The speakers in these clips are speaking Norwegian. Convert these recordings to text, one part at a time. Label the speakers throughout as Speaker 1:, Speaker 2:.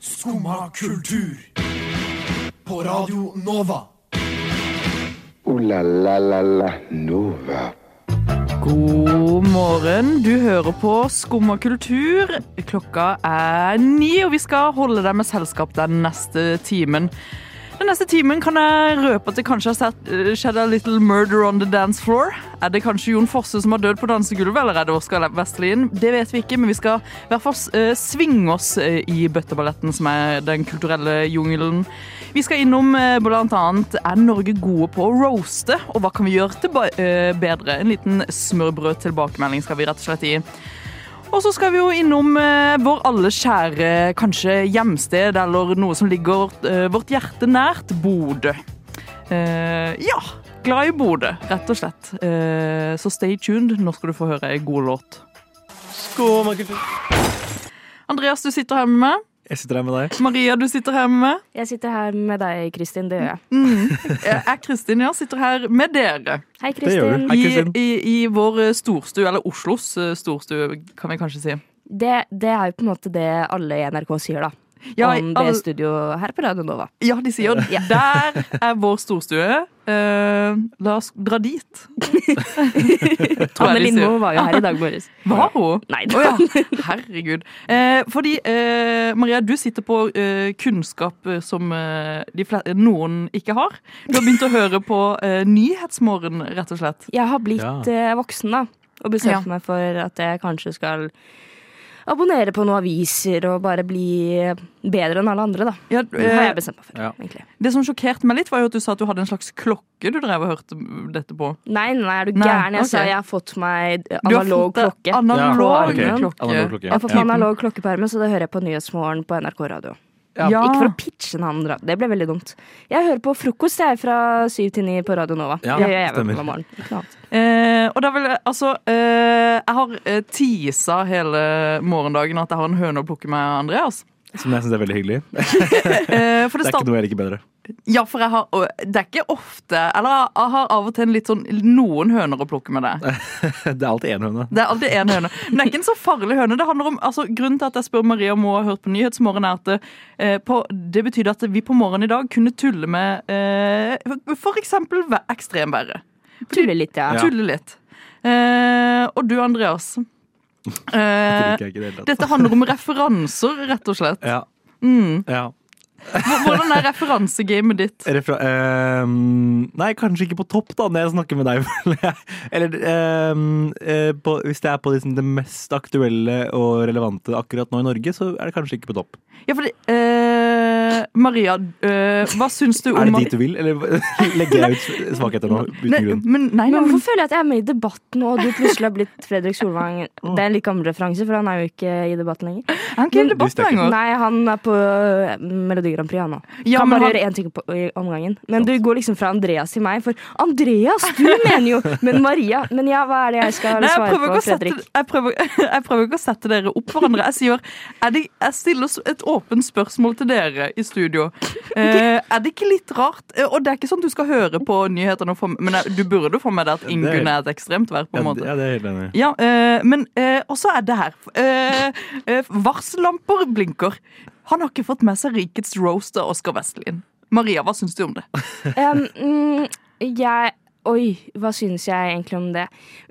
Speaker 1: Skumma kultur. På Radio Nova.
Speaker 2: Ooh la la la la Nova.
Speaker 3: God morgen. Du hører på Skum og kultur. Klokka er ni, og vi skal holde deg med selskap den neste timen. Den neste timen kan jeg røpe at det kanskje har sett- eh, skjedd a little murder on the dance floor. Er det kanskje Jon Fosse som har dødd på dansegulvet, eller er det Oskar Vestlien? Det vet vi ikke, men vi skal i hvert fall eh, svinge oss eh, i bøtteballetten, som er den kulturelle jungelen. Vi skal innom eh, blant annet er Norge gode på å roaste, og hva kan vi gjøre til ba- eh, bedre? En liten smørbrød-tilbakemelding skal vi rett og slett gi. Og så skal vi jo innom eh, vår alles kjære kanskje hjemsted, eller noe som ligger eh, vårt hjerte nært, Bodø. Eh, ja, glad i Bodø, rett og slett. Eh, så stay tuned, nå skal du få høre ei god låt. Andreas, du sitter her med meg.
Speaker 4: Jeg sitter her med deg.
Speaker 3: Maria, du sitter her med meg.
Speaker 5: Jeg sitter her med deg, Kristin. Det gjør jeg.
Speaker 3: Eh, Jeg, Kristin, ja, sitter her med dere
Speaker 5: Hei,
Speaker 4: gjør du.
Speaker 5: Kristin.
Speaker 4: Hei,
Speaker 3: i,
Speaker 4: Kristin.
Speaker 3: i, i vår eh, storstue, eller Oslos eh, storstue, kan vi kanskje si.
Speaker 5: Det, det er jo på en måte det alle i NRK sier, da.
Speaker 3: Ja,
Speaker 5: om det
Speaker 3: alle-
Speaker 5: studioet her på Radio Nova.
Speaker 3: Ja, de sier jo Der er vår storstue. Eh, la oss dra dit. Tror jeg
Speaker 5: Anne
Speaker 3: de
Speaker 5: Lindmo
Speaker 3: sier.
Speaker 5: var jo her i dag morges.
Speaker 3: Var hun?
Speaker 5: Nei,
Speaker 3: Å ja. Herregud. Eh, fordi, eh, Maria, du sitter på eh, kunnskap eh, som eh, de fle- noen ikke har. Du har begynt å høre på eh, Nyhetsmorgen, rett og slett.
Speaker 5: Jeg har blitt
Speaker 4: Ja.
Speaker 5: eh, voksen, da. Og bestemt
Speaker 3: Ja.
Speaker 5: meg for at jeg kanskje skal abonnere på noen aviser og bare bli eh, bedre enn alle andre, da.
Speaker 3: Ja,
Speaker 5: Det har
Speaker 3: eh,
Speaker 5: jeg bestemt meg for,
Speaker 4: ja.
Speaker 5: egentlig.
Speaker 3: det som sjokkerte meg litt, var jo at du sa at du hadde en slags klokke du drev og hørte dette på.
Speaker 5: Nei, nei, er du
Speaker 3: Nei,
Speaker 5: gæren? Jeg sa
Speaker 3: ok.
Speaker 5: jeg har fått meg
Speaker 3: Du har
Speaker 5: analog
Speaker 3: fått, eh,
Speaker 5: klokke.
Speaker 3: Analog
Speaker 5: Ja, ok.
Speaker 3: klokke.
Speaker 4: Analog
Speaker 5: jeg har fått
Speaker 4: Ja.
Speaker 5: meg analog klokkeperme, så det hører jeg på Nyhetsmorgen på NRK radio.
Speaker 4: Ja.
Speaker 3: Ja.
Speaker 5: Ikke for å pitche en annen radio. Det ble veldig dumt. Jeg hører på frokost jeg fra syv til ni på Radio Nova.
Speaker 4: Ja,
Speaker 5: det gjør jeg
Speaker 4: stemmer.
Speaker 5: hver morgen. Ikke noe annet.
Speaker 3: Eh, og da vil jeg, altså eh, Jeg har eh, teasa hele morgendagen at jeg har en høne å plukke med Andreas.
Speaker 4: Som jeg syns er veldig hyggelig. Det
Speaker 3: Eh, for det
Speaker 4: er ikke
Speaker 3: start,
Speaker 4: noe jeg liker bedre.
Speaker 3: ja, for jeg har, og det er ikke ofte Eller jeg- jeg har av og til en litt sånn noen høner å plukke med deg.
Speaker 4: Det er alltid én høne.
Speaker 3: Det er alltid én høne. Men det er ikke en så farlig høne. Det handler om, altså Grunnen til at jeg spør Maria om hun har hørt på Nyhetsmorgen, er at det, eh, på, det betydde at vi på morgenen i dag kunne tulle med eh, f.eks. ekstremværet.
Speaker 5: Tuller litt, ja.
Speaker 4: Ja.
Speaker 3: Tulle litt. Eh, og du, Andreas. Eh,
Speaker 4: Det liker jeg ikke i det hele tatt.
Speaker 3: Dette handler om referanser, rett og slett.
Speaker 4: Ja.
Speaker 3: mm.
Speaker 4: ja.
Speaker 3: Hvordan er referansegamet ditt?
Speaker 4: Refra ehm, nei, kanskje ikke på topp, da, når jeg snakker med deg. føler jeg. Eller ehm, eh, på, hvis det er på liksom, det mest aktuelle og relevante akkurat nå i Norge, så er det kanskje ikke på topp.
Speaker 3: Ja, fordi, eh, Maria, eh, hva syns du om
Speaker 4: Er det dit du vil, eller legger jeg ut svakheter nå? Uten
Speaker 3: Nei,
Speaker 4: grunn.
Speaker 3: men, nei, nei,
Speaker 5: Men
Speaker 3: men,
Speaker 5: hvorfor føler jeg at jeg er med i debatten, og du plutselig har blitt Fredrik Solvang?
Speaker 4: Mm.
Speaker 5: Det er en litt gammel referanse, for han er jo ikke i debatten lenger.
Speaker 3: er han ikke i debatt
Speaker 4: Du stikker.
Speaker 3: lenger?
Speaker 5: Nei, han er på eh, Melodi Grand Prix, han nå.
Speaker 3: Ja,
Speaker 5: kan
Speaker 3: men
Speaker 5: bare
Speaker 3: han-
Speaker 5: gjøre én ting på, i omgangen. Men du går liksom fra Andreas til meg, for Andreas, du mener jo Men Maria Men ja, hva er det jeg skal
Speaker 3: Nei, jeg,
Speaker 5: svare
Speaker 3: prøver ikke
Speaker 5: på,
Speaker 3: å sette,
Speaker 5: Fredrik?
Speaker 3: jeg, prøver, jeg prøver ikke å sette dere opp hverandre. Jeg, sier, er det, jeg stiller et åpent spørsmål til dere i studio. Eh, er det ikke litt rart? Eh, Og det er ikke sånn at du skal høre på nyhetene, og få- men jeg- du burde få med deg at Ingunn er et ekstremt vær, på en
Speaker 4: Ja,
Speaker 3: måte.
Speaker 4: det- ja, det er jeg helt enig. i.
Speaker 3: Ja, eh, men eh, også er det her. Eh, eh, varsellamper blinker. Han har ikke fått med seg rikets roaster Oskar Vestlien. Maria, hva syns du om det?
Speaker 5: Um, mm, jeg Oi, hva syns jeg egentlig om det?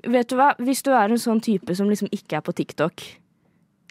Speaker 5: Vet du hva, hvis du er en sånn type som liksom ikke er på TikTok,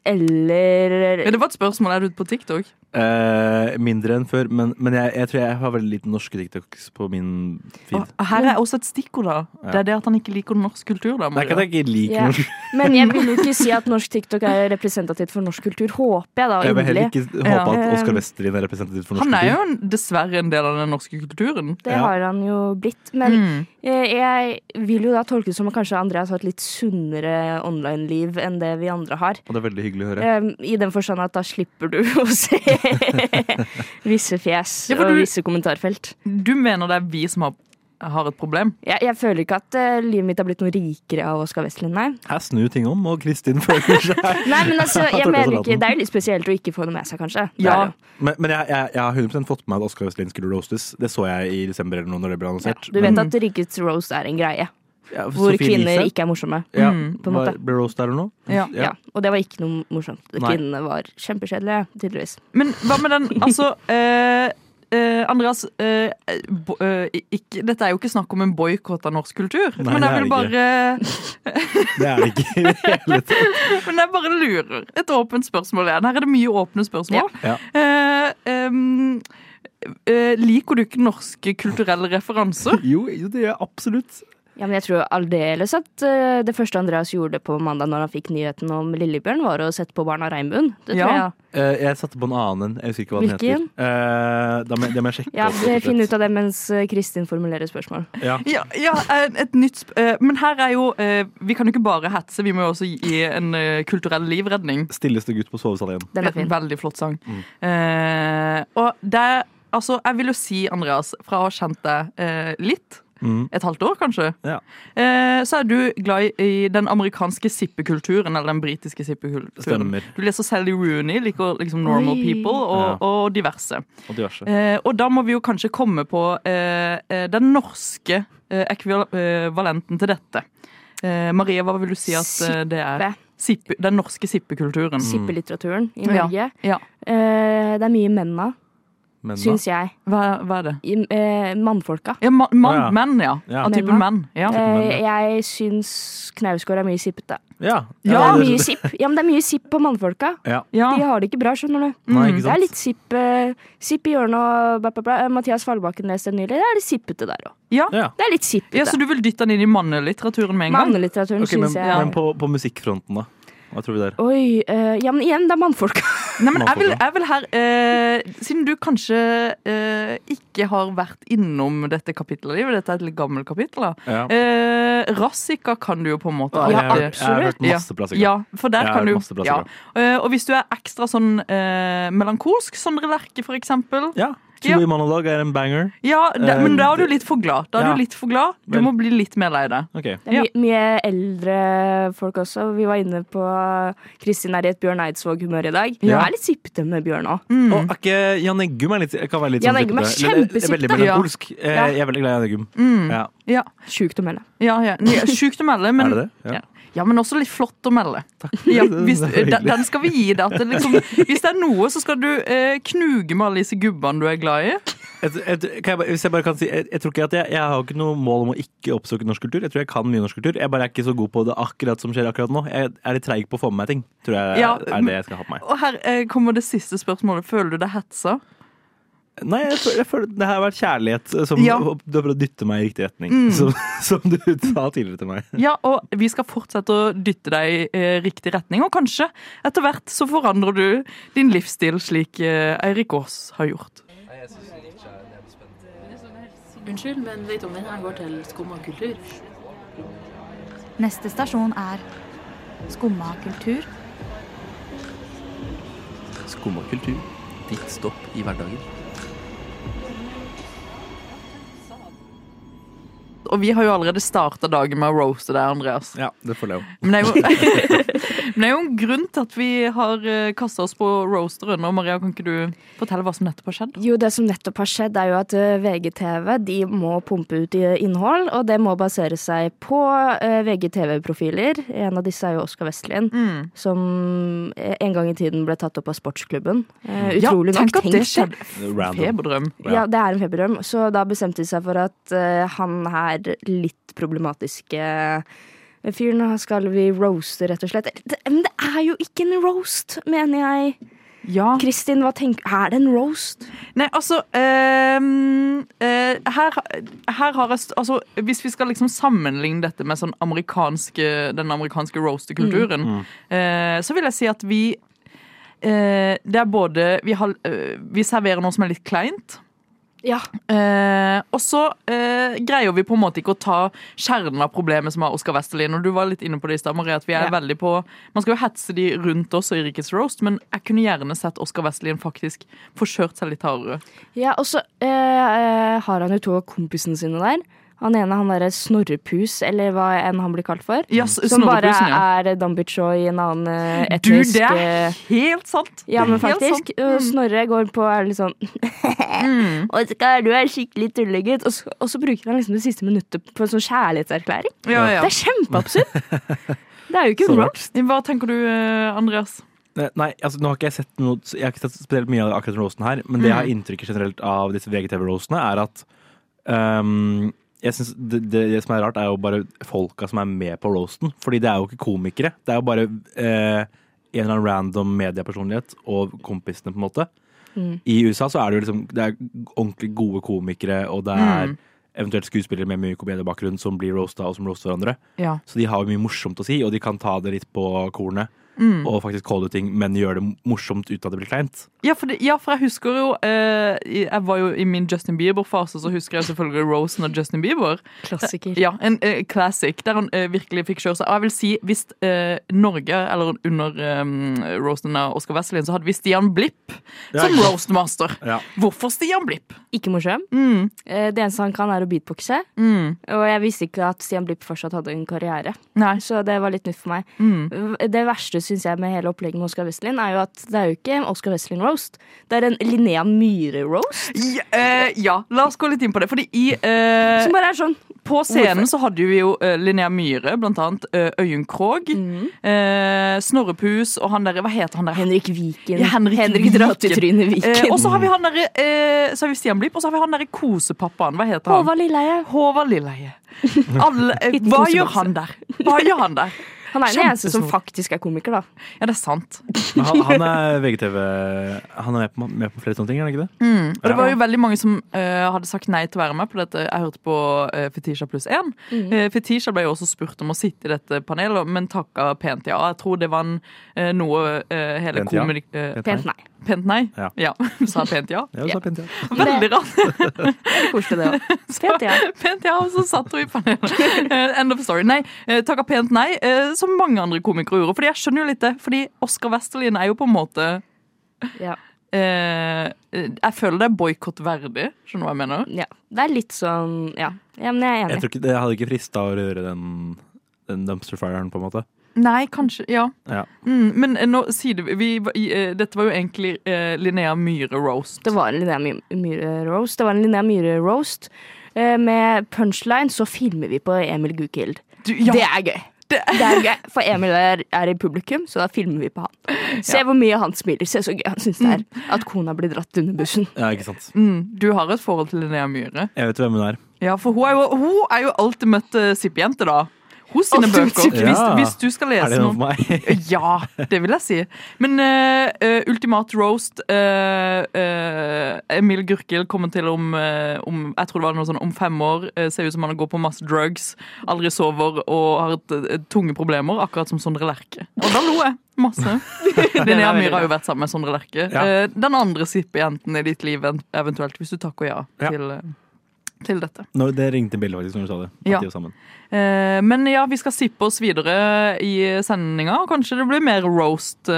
Speaker 5: eller
Speaker 3: Ja, det var et spørsmål. Er du ute på TikTok?
Speaker 4: Eh, mindre enn før, men, men jeg, jeg tror jeg har veldig lite norske TikToks på min feed.
Speaker 3: Og her er også et stikkord, da. Det er det at han ikke liker norsk kultur, da.
Speaker 4: Det er ikke at
Speaker 3: Maria.
Speaker 4: jeg ikke liker
Speaker 5: Ja.
Speaker 4: norsk.
Speaker 5: Men jeg vil jo ikke si at norsk TikTok er representativt for norsk kultur, håper jeg da.
Speaker 4: Jeg vil heller
Speaker 5: Inderlig.
Speaker 4: ikke håpe
Speaker 5: Ja.
Speaker 4: at Oskar Westrin er representativ for norsk
Speaker 3: Han er
Speaker 4: kultur.
Speaker 3: jo en, dessverre en del av den norske kulturen.
Speaker 5: Det
Speaker 4: Ja.
Speaker 5: har han jo blitt. Men
Speaker 3: Mm.
Speaker 4: Mm.
Speaker 5: eh, jeg vil jo da tolke det som at kanskje Andreas har et litt sunnere online-liv enn det vi andre har.
Speaker 4: Og det er veldig hyggelig å høre.
Speaker 5: Eh, I den forstand at da slipper du å se visse fjes
Speaker 3: Ja, for
Speaker 5: og
Speaker 3: du-
Speaker 5: visse kommentarfelt.
Speaker 3: Du mener det er vi som har, har et problem?
Speaker 5: Jeg, jeg føler ikke at eh, livet mitt har blitt noe rikere av Oskar Westlund, nei.
Speaker 4: Her snur ting om, og Kristin føler seg
Speaker 5: Nei, men altså,
Speaker 4: Jeg
Speaker 5: jeg
Speaker 4: tror det er
Speaker 5: mener ikke,
Speaker 4: salaten.
Speaker 5: Det er jo litt spesielt å ikke få det med seg, kanskje. Det
Speaker 3: Ja.
Speaker 5: er det jo.
Speaker 4: Men, men jeg, jeg, jeg har 100 fått med meg at Oskar Westlin skulle roastes. Det så jeg i desember eller noe når det ble annonsert.
Speaker 5: Du vet
Speaker 4: men,
Speaker 5: at rikets roast er en greie.
Speaker 4: Ja,
Speaker 5: hvor
Speaker 4: Sophie
Speaker 5: kvinner
Speaker 4: Elise?
Speaker 5: ikke er morsomme.
Speaker 4: ja,
Speaker 3: Mm,
Speaker 5: på en måte.
Speaker 4: var- Ble roast der eller noe?
Speaker 3: Ja.
Speaker 5: Ja. Og det var ikke noe morsomt.
Speaker 4: Nei.
Speaker 5: Kvinnene var kjempekjedelige, tydeligvis.
Speaker 3: Men hva med den, altså eh, eh, Andreas, eh, bo, eh, ikke, dette er jo ikke snakk om en boikott av norsk kultur.
Speaker 4: Nei,
Speaker 3: men jeg
Speaker 4: det er
Speaker 3: vil
Speaker 4: det
Speaker 3: bare
Speaker 4: Det er det ikke i det hele tatt.
Speaker 3: Men jeg bare lurer. Et åpent spørsmål igjen. Her er det mye åpne spørsmål.
Speaker 4: Ja.
Speaker 3: Eh, em, eh, liker du ikke norske kulturelle referanser?
Speaker 4: Jo, jo, det gjør jeg absolutt.
Speaker 5: Ja, men jeg tror aldeles at eh, det første Andreas gjorde på mandag når han fikk nyheten om Lillebjørn, var å sette på Barna Regnbuen. Det tror
Speaker 3: Ja.
Speaker 5: jeg.
Speaker 4: Eh, jeg satte på en annen en. Jeg husker ikke hva den
Speaker 5: Hvilken?
Speaker 4: heter. Eh, da må, det må jeg sjekke.
Speaker 5: Ja,
Speaker 4: opp, rett og
Speaker 5: Finn
Speaker 4: slett.
Speaker 5: ut av det mens eh, Kristin formulerer spørsmål.
Speaker 4: Ja.
Speaker 3: Ja, ja eh, et nytt sp eh, Men her er jo eh, Vi kan jo ikke bare hetse, vi må jo også gi en eh, kulturell livredning.
Speaker 4: Stilleste gutt på sovesalen igjen.
Speaker 5: Den er fin.
Speaker 3: Veldig flott sang.
Speaker 4: Mm.
Speaker 3: Eh, og det Altså, jeg vil jo si, Andreas, fra å ha kjent deg eh, litt,
Speaker 4: Mm.
Speaker 3: et halvt år kanskje,
Speaker 4: Ja.
Speaker 3: eh, så er du glad i, i den amerikanske sippekulturen, eller den britiske sippekulturen.
Speaker 4: Stemmer.
Speaker 3: Du leser Sally Rooney, liker liksom normal
Speaker 5: Oi.
Speaker 3: people og, og diverse.
Speaker 4: Og diverse.
Speaker 3: Eh, og da må vi jo kanskje komme på eh, eh, den norske eh, ekvivalenten til dette. Eh, Marie, hva vil du si at eh, det er? Sippe, den norske sippekulturen.
Speaker 5: Sippelitteraturen i
Speaker 3: Ja.
Speaker 5: Norge.
Speaker 3: Ja.
Speaker 5: Eh, det er mye menn av,
Speaker 4: Men da,
Speaker 5: syns jeg.
Speaker 3: Hva, hva er det?
Speaker 5: I, eh, mannfolka.
Speaker 3: Ja, ma mann,
Speaker 4: Å, ja.
Speaker 3: menn, ja.
Speaker 4: Ja.
Speaker 3: Av typen menn. Ja.
Speaker 5: Eh, jeg syns Knausgård er mye sippete.
Speaker 4: ja.
Speaker 5: det
Speaker 3: Ja,
Speaker 5: er
Speaker 4: det-
Speaker 5: mye sipp. Ja, men det er mye sipp på mannfolka.
Speaker 4: ja.
Speaker 3: ja.
Speaker 5: De har det ikke bra, skjønner du.
Speaker 4: Nei, ikke
Speaker 5: Mm, Det er
Speaker 4: sant?
Speaker 5: litt sipp, eh, sipp i hjørnet og bla, bla, bla. Eh, Mathias Fallbakken leste den nylig. Det er litt sippete der òg.
Speaker 3: ja.
Speaker 4: Ja.
Speaker 5: Det er litt sippete.
Speaker 3: ja, Så du vil dytte den inn i mannelitteraturen med en gang?
Speaker 5: Mannelitteraturen
Speaker 4: Ok, men,
Speaker 5: syns jeg
Speaker 4: men på, på musikkfronten, da? Hva tror vi der?
Speaker 5: Oi, eh, ja, men igjen, det er mannfolka.
Speaker 3: Nei, men jeg vil, jeg vil her eh, Siden du kanskje eh, ikke har vært innom dette kapitlet i livet, dette er et litt gammelt kapittel, da.
Speaker 4: Ja.
Speaker 3: Eh, Rassika kan du jo på en måte
Speaker 4: jeg, har-
Speaker 3: alltid-
Speaker 4: jeg har hørt masse
Speaker 3: Ja.
Speaker 4: plastikk.
Speaker 3: Ja, for der
Speaker 4: Jeg har
Speaker 3: kan du
Speaker 4: masse plastikk,
Speaker 3: ja. Eh, Og hvis du er ekstra sånn eh, melankolsk, Sondre Lerche for eksempel
Speaker 4: Ja. Two
Speaker 3: Ja.
Speaker 4: i monolog er en banger.
Speaker 3: Ja, det,
Speaker 4: Eh,
Speaker 3: men da er du litt for glad. Da er
Speaker 4: ja.
Speaker 3: du litt for glad. Du
Speaker 4: Vel.
Speaker 3: må bli litt mer lei deg.
Speaker 4: Ok.
Speaker 5: Det er
Speaker 3: Ja.
Speaker 5: my mye eldre folk også. Vi var inne på Kristin er i et Bjørn Eidsvåg-humør i dag.
Speaker 4: Ja.
Speaker 5: Jeg er litt sippete med Bjørn òg.
Speaker 4: Og er ikke Jan Eggum er litt, kan være litt
Speaker 5: Mm. Jan
Speaker 4: sånn
Speaker 5: Eggum er
Speaker 4: sippete. Eller- eller Veldig
Speaker 5: kjempesippete.
Speaker 3: Ja.
Speaker 4: melankolsk. Eh,
Speaker 5: Ja. Mm.
Speaker 4: Jeg er veldig glad i Jan Eggum. Ja.
Speaker 3: Ja,
Speaker 5: Sjukt å melde.
Speaker 3: ja, ja. Nei, Sjukt å melde, men
Speaker 4: er det det? Ja.
Speaker 3: Ja. ja, men også litt flott å melde.
Speaker 4: Takk.
Speaker 3: Ja, hvis,
Speaker 4: Det er
Speaker 3: den,
Speaker 4: hyggelig.
Speaker 3: den skal vi gi deg. At det liksom, hvis det er noe, så skal du eh, knuge med alle disse gubbene du er glad i.
Speaker 4: Et- et- kan jeg bare- Hvis jeg bare kan si Jeg, jeg tror ikke at jeg, jeg har ikke noe mål om å ikke oppsøke norsk kultur. Jeg tror jeg kan mye norsk kultur. Jeg bare er ikke så god på det akkurat som skjer akkurat nå. Jeg er litt treig på å få med meg ting. Tror jeg
Speaker 3: Ja,
Speaker 4: er det jeg skal ha på meg.
Speaker 3: Og her eh, kommer det siste spørsmålet. Føler du deg hetsa?
Speaker 4: Nei, jeg føler, jeg føler, det her har vært kjærlighet eh, som
Speaker 3: Ja.
Speaker 4: du har prøvd å dytte meg i riktig retning.
Speaker 5: Mm.
Speaker 4: Som, som du sa tidligere til meg.
Speaker 3: Ja, og vi skal fortsette å dytte deg i eh, riktig retning, og kanskje etter hvert så forandrer du din livsstil slik eh, Eirik Aas har gjort.
Speaker 6: Unnskyld, men vet om den her går til skum og kultur?
Speaker 7: Neste stasjon er Skumma kultur.
Speaker 8: Skumma kultur. Ditt stopp i hverdagen.
Speaker 3: Og vi har jo allerede starta dagen med å roaste deg, Andreas.
Speaker 4: Ja, det føler jeg jo.
Speaker 3: Men det er jo, men det er jo en grunn til at vi har kasta oss på roasteren. Og Maria, kan ikke du fortelle hva som nettopp har skjedd?
Speaker 5: Jo, det som nettopp har skjedd, er jo at eh, VGTV de må pumpe ut i- innhold, og det må basere seg på eh, VGTV-profiler. En av disse er jo Oskar Vestlien,
Speaker 3: Mm.
Speaker 5: som eh, en gang i tiden ble tatt opp av Sportsklubben. Eh, utrolig
Speaker 3: ja, tenk
Speaker 5: nok.
Speaker 3: at det
Speaker 5: tenk
Speaker 3: skjedde.
Speaker 4: Random.
Speaker 3: Feberdrøm.
Speaker 5: Ja, det er en feberdrøm. Så da bestemte de seg for at eh, han her litt problematiske eh, fyren han skal vi roaste, rett og slett. Det, men det er jo ikke en roast, mener jeg.
Speaker 3: Ja.
Speaker 5: Kristin, hva tenker Er det en roast?
Speaker 3: Nei, altså ehm, eh, her, her har jeg st altså, Hvis vi skal liksom sammenligne dette med sånn amerikanske, den amerikanske roasterkulturen, eh, så vil jeg si at vi eh, Det er både vi, har, eh, vi serverer noe som er litt kleint.
Speaker 5: Ja.
Speaker 3: Eh, og så eh, greier vi på en måte ikke å ta kjernen av problemet som er Oskar Westerlin. Og du var litt inne på det i stad, Marie, at vi er
Speaker 5: Ja.
Speaker 3: veldig på Man skal jo hetse de rundt oss og i Rikets Roast, men jeg kunne gjerne sett Oskar Westerlin faktisk få kjørt seg litt hardere.
Speaker 5: Ja, og så eh, eh, har han jo to av kompisene sine der. Han ene, han derre Snorrepus, eller hva enn han blir kalt for.
Speaker 3: Ja, s-
Speaker 5: Som bare
Speaker 3: Snorrepusen, ja.
Speaker 5: er Dambicho i en annen eh,
Speaker 3: Du,
Speaker 5: etnisk
Speaker 3: det
Speaker 5: eh,
Speaker 3: er helt sant!
Speaker 5: Ja, men
Speaker 3: Helt
Speaker 5: faktisk.
Speaker 3: sant. Mm.
Speaker 5: Og Snorre går på og er litt sånn Oskar, du er skikkelig tullegutt. Og så, og så bruker han liksom det siste minuttet på en sånn kjærlighetserklæring.
Speaker 3: Ja, ja.
Speaker 5: Det er kjempeabsurd! det er jo ikke
Speaker 4: Så
Speaker 5: bra.
Speaker 3: Hva tenker du, eh, Andreas?
Speaker 4: Eh, Nei, altså nå har ikke jeg sett noe Jeg har ikke sett spesielt mye av akkurat den roasten her, men det jeg har inntrykket generelt av disse VGTV-roastene, er at ehm, jeg synes det, det, det som er rart, er jo bare folka som er med på roasten. Fordi det er jo ikke komikere. Det er jo bare eh, en eller annen random mediepersonlighet og kompisene, på en måte. I USA så er det jo liksom Det er ordentlig gode komikere, og det er eventuelt skuespillere med mye komediebakgrunn som blir roasta, og som roaster hverandre.
Speaker 3: Ja.
Speaker 4: Så de har jo mye morsomt å si, og de kan ta det litt på kornet.
Speaker 3: Mm.
Speaker 4: Og faktisk calle ut ting, men gjøre det morsomt uten at det blir kleint.
Speaker 3: Ja, for, det, ja, for jeg husker jo eh, i- Jeg var jo i min Justin Bieber-fase, så husker jeg selvfølgelig Rosen og Justin Bieber.
Speaker 5: Klassiker.
Speaker 3: Ja, En eh, classic der han eh, virkelig fikk kjøre seg. Og jeg vil si, hvis eh, Norge, eller under eh, roasten av Oscar Wesselin, så hadde vi Stian Blipp som
Speaker 4: ikke sant.
Speaker 3: roastmaster.
Speaker 4: Ja.
Speaker 3: Hvorfor Stian Blipp?
Speaker 5: Ikke morsom. Eh, Det eneste han kan, er å beatboxe. Og jeg visste ikke at Stian Blipp fortsatt hadde en karriere.
Speaker 3: Nei.
Speaker 5: Så det var litt nytt for meg. V- Det verste synes jeg med hele opplegget med Oscar Westlin, er jo at det er jo ikke en Oscar Westlin-roast. Det er en Linnea Myhre-roast.
Speaker 3: Ja, eh, ja, la oss gå litt inn på det. Fordi i eh,
Speaker 5: Som bare er sånn
Speaker 3: På scenen så hadde vi jo eh, Linnea Myhre, blant annet. eh, Øyunn Krogh. eh, Snorrepus og han derre Hva heter han der?
Speaker 5: Mm. Henrik Viken.
Speaker 3: Ja, Henrik
Speaker 5: Henrik
Speaker 3: Viken.
Speaker 5: Drattetryne
Speaker 3: Eh,
Speaker 5: Viken.
Speaker 3: og så har vi han derre eh, Så har vi Stian Blipp, og så har vi han derre kosepappaen. Hva heter han?
Speaker 5: Håvard Lilleheie.
Speaker 3: Håvard Lilleheie. Alle, eh, hva
Speaker 5: kosebamse.
Speaker 3: gjør han der? Hva gjør han der?
Speaker 5: Han er den eneste som
Speaker 3: Kjempesnor.
Speaker 5: faktisk er komiker, da.
Speaker 3: Ja, det er sant.
Speaker 4: Men han, han er VGTV Han er med på, med på flere sånne ting, er han ikke det?
Speaker 3: Og Mm. det var jo veldig mange som eh, hadde sagt nei til å være med på dette. Jeg hørte på eh, Fetisha pluss én. Eh, Fetisha ble jo også spurt om å sitte i dette panelet, men takka pent ja. Jeg tror det var en, eh, noe eh, hele
Speaker 4: Pent ja?
Speaker 3: komedi... eh,
Speaker 5: Pent nei.
Speaker 3: pent nei?
Speaker 4: Ja.
Speaker 3: Sa pent ja?
Speaker 4: Ja, du sa pent, ja.
Speaker 3: Veldig rart.
Speaker 5: Det er koselig, det òg. Pent, ja.
Speaker 3: pent ja, og så satt hun i panelet. Eh, End of story. Nei, eh, takka pent nei, eh, som mange andre komikere gjorde. Fordi jeg skjønner jo litt det, fordi Oskar Westerlin er jo på en måte
Speaker 5: Ja.
Speaker 3: eh, Jeg føler det er boikott verdig. Skjønner du hva jeg mener?
Speaker 5: ja. Det er litt sånn Ja, ja men jeg er
Speaker 4: Jeg
Speaker 5: enig.
Speaker 4: tror ikke, det hadde ikke frista å røre den, den dumpster fireren, på en måte.
Speaker 3: Nei, kanskje. Ja.
Speaker 4: Ja.
Speaker 3: Mm, men eh, nå sier det vi, i, eh, Dette var jo egentlig eh, Linnea Myhre-roast.
Speaker 5: Det var en Linnea My- Myhre-roast. Det var en Linnea Myhre-roast. Eh, Med punchline så filmer vi på Emil Gukild.
Speaker 3: Ja,
Speaker 5: Det er gøy. Det er gøy, For Emil er, er i publikum, så da filmer vi på han. Se hvor mye han smiler. Se så gøy han syns det er at kona blir dratt under bussen.
Speaker 4: Ja, ikke sant.
Speaker 3: mm, du har et forhold til Linnea Myhre.
Speaker 4: Jeg vet hvem hun er.
Speaker 3: Ja, for hun er jo, hun er jo ultimate sippjente, da. Hos sine
Speaker 5: Ultimate
Speaker 3: bøker. Hvis,
Speaker 4: Ja.
Speaker 3: hvis du skal
Speaker 4: Er
Speaker 3: lese
Speaker 4: det noe
Speaker 3: noe
Speaker 4: for meg?
Speaker 3: Ja, det vil jeg si. Men eh, eh, Ultimat Roast eh, eh, Emil Gurkild kommer til om, eh, om Jeg tror det var noe sånn om fem år. eh, ser ut som han går på masse drugs, aldri sover og har et, eh, tunge problemer, akkurat som Sondre Lerche. Og da lo jeg masse. Linnea Myhre har jo vært sammen med Sondre Lerche.
Speaker 4: Ja.
Speaker 3: Eh, den andre sippejenten i ditt liv, en- eventuelt, hvis du takker ja,
Speaker 4: Ja.
Speaker 3: Til, eh, til dette.
Speaker 4: Når det ringte en bjelle, faktisk, når du sa det. At
Speaker 3: Ja.
Speaker 4: de var sammen.
Speaker 3: Eh, Men ja, vi skal sippe oss videre i sendinga, og kanskje det blir mer roast eh,